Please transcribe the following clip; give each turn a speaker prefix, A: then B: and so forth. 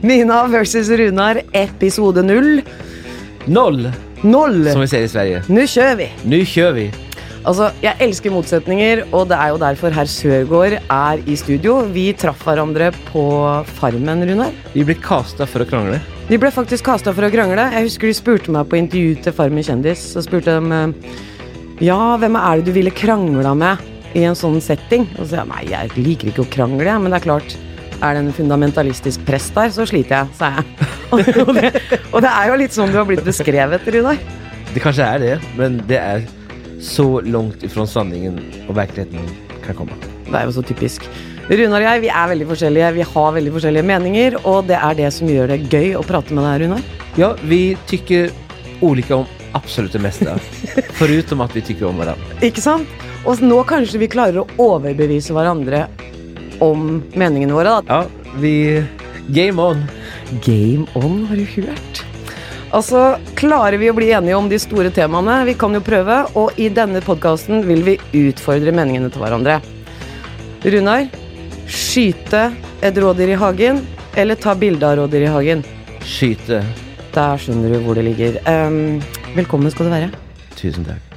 A: Mina versus Runar, episode null.
B: Noll,
A: Null!
B: som vi sier i Sverige.
A: Nå kjører vi!
B: Nu kjør vi.
A: Altså, Jeg elsker motsetninger, og det er jo derfor herr Sørgaard er i studio. Vi traff hverandre på Farmen, Runar.
B: Vi ble kasta for å krangle.
A: De ble faktisk kasta for å krangle. Jeg husker de spurte meg på intervju til Farmen kjendis. Så spurte de eh, Ja, hvem er det du ville krangla med i en sånn setting? Og så sa jeg nei, jeg liker ikke å krangle, jeg, men det er klart. Er det en fundamentalistisk prest der, så sliter jeg, sa jeg. Og det, og det er jo litt sånn du har blitt beskrevet, Runar.
B: Det kanskje er det, men det er så langt ifra sanningen og virkeligheten kan komme.
A: Det er jo så typisk. Runar og jeg vi er veldig forskjellige, vi har veldig forskjellige meninger, og det er det som gjør det gøy å prate med deg, Runar.
B: Ja, vi tykker ulike om absolutt det meste. Foruten at vi tykker om hverandre.
A: Ikke sant? Og nå kanskje vi klarer å overbevise hverandre om meningene våre, da.
B: Ja, vi Game on.
A: Game on, har du hørt? Altså, klarer vi å bli enige om de store temaene? Vi kan jo prøve, og i denne podkasten vil vi utfordre meningene til hverandre. Runar, skyte et rådyr i hagen, eller ta bilde av rådyr i hagen?
B: Skyte.
A: Der skjønner du hvor det ligger. Ehm, velkommen skal du være.
B: Tusen takk.